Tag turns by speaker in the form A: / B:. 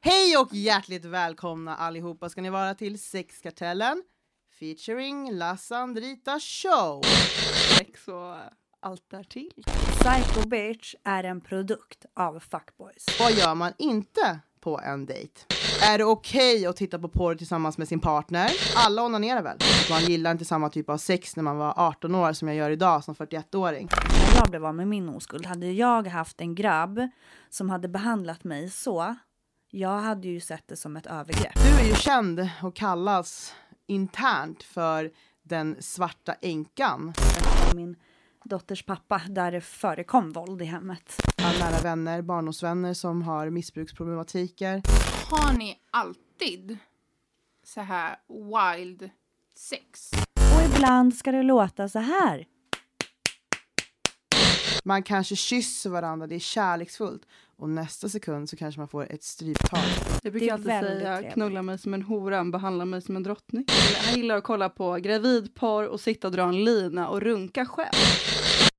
A: Hej och hjärtligt välkomna allihopa ska ni vara till Sexkartellen featuring Lasse Andrita Show.
B: Sex och allt därtill.
C: Psycho Bitch är en produkt av Fuckboys.
A: Vad gör man inte på en dejt? Är det okej att titta på porr tillsammans med sin partner? Alla onanerar väl? Man gillar inte samma typ av sex när man var 18 år som jag gör idag som 41-åring.
C: När jag blev av med min oskuld hade jag haft en grabb som hade behandlat mig så. Jag hade ju sett det som ett övergrepp.
A: Du är ju känd och kallas internt för den svarta änkan.
C: Min dotters pappa där det förekom våld i hemmet.
A: Har nära vänner, barndomsvänner som har missbruksproblematiker.
B: Har ni alltid så här wild sex?
C: Och ibland ska det låta så här.
A: Man kanske kysser varandra, det är kärleksfullt. Och nästa sekund så kanske man får ett stryptag.
D: Jag
C: Det
D: brukar
C: är
D: alltid
C: väldigt
D: säga
C: trevligt.
D: knulla mig som en hora, behandla mig som en drottning. Han gillar att kolla på gravidpar och sitta och dra en lina och runka själv.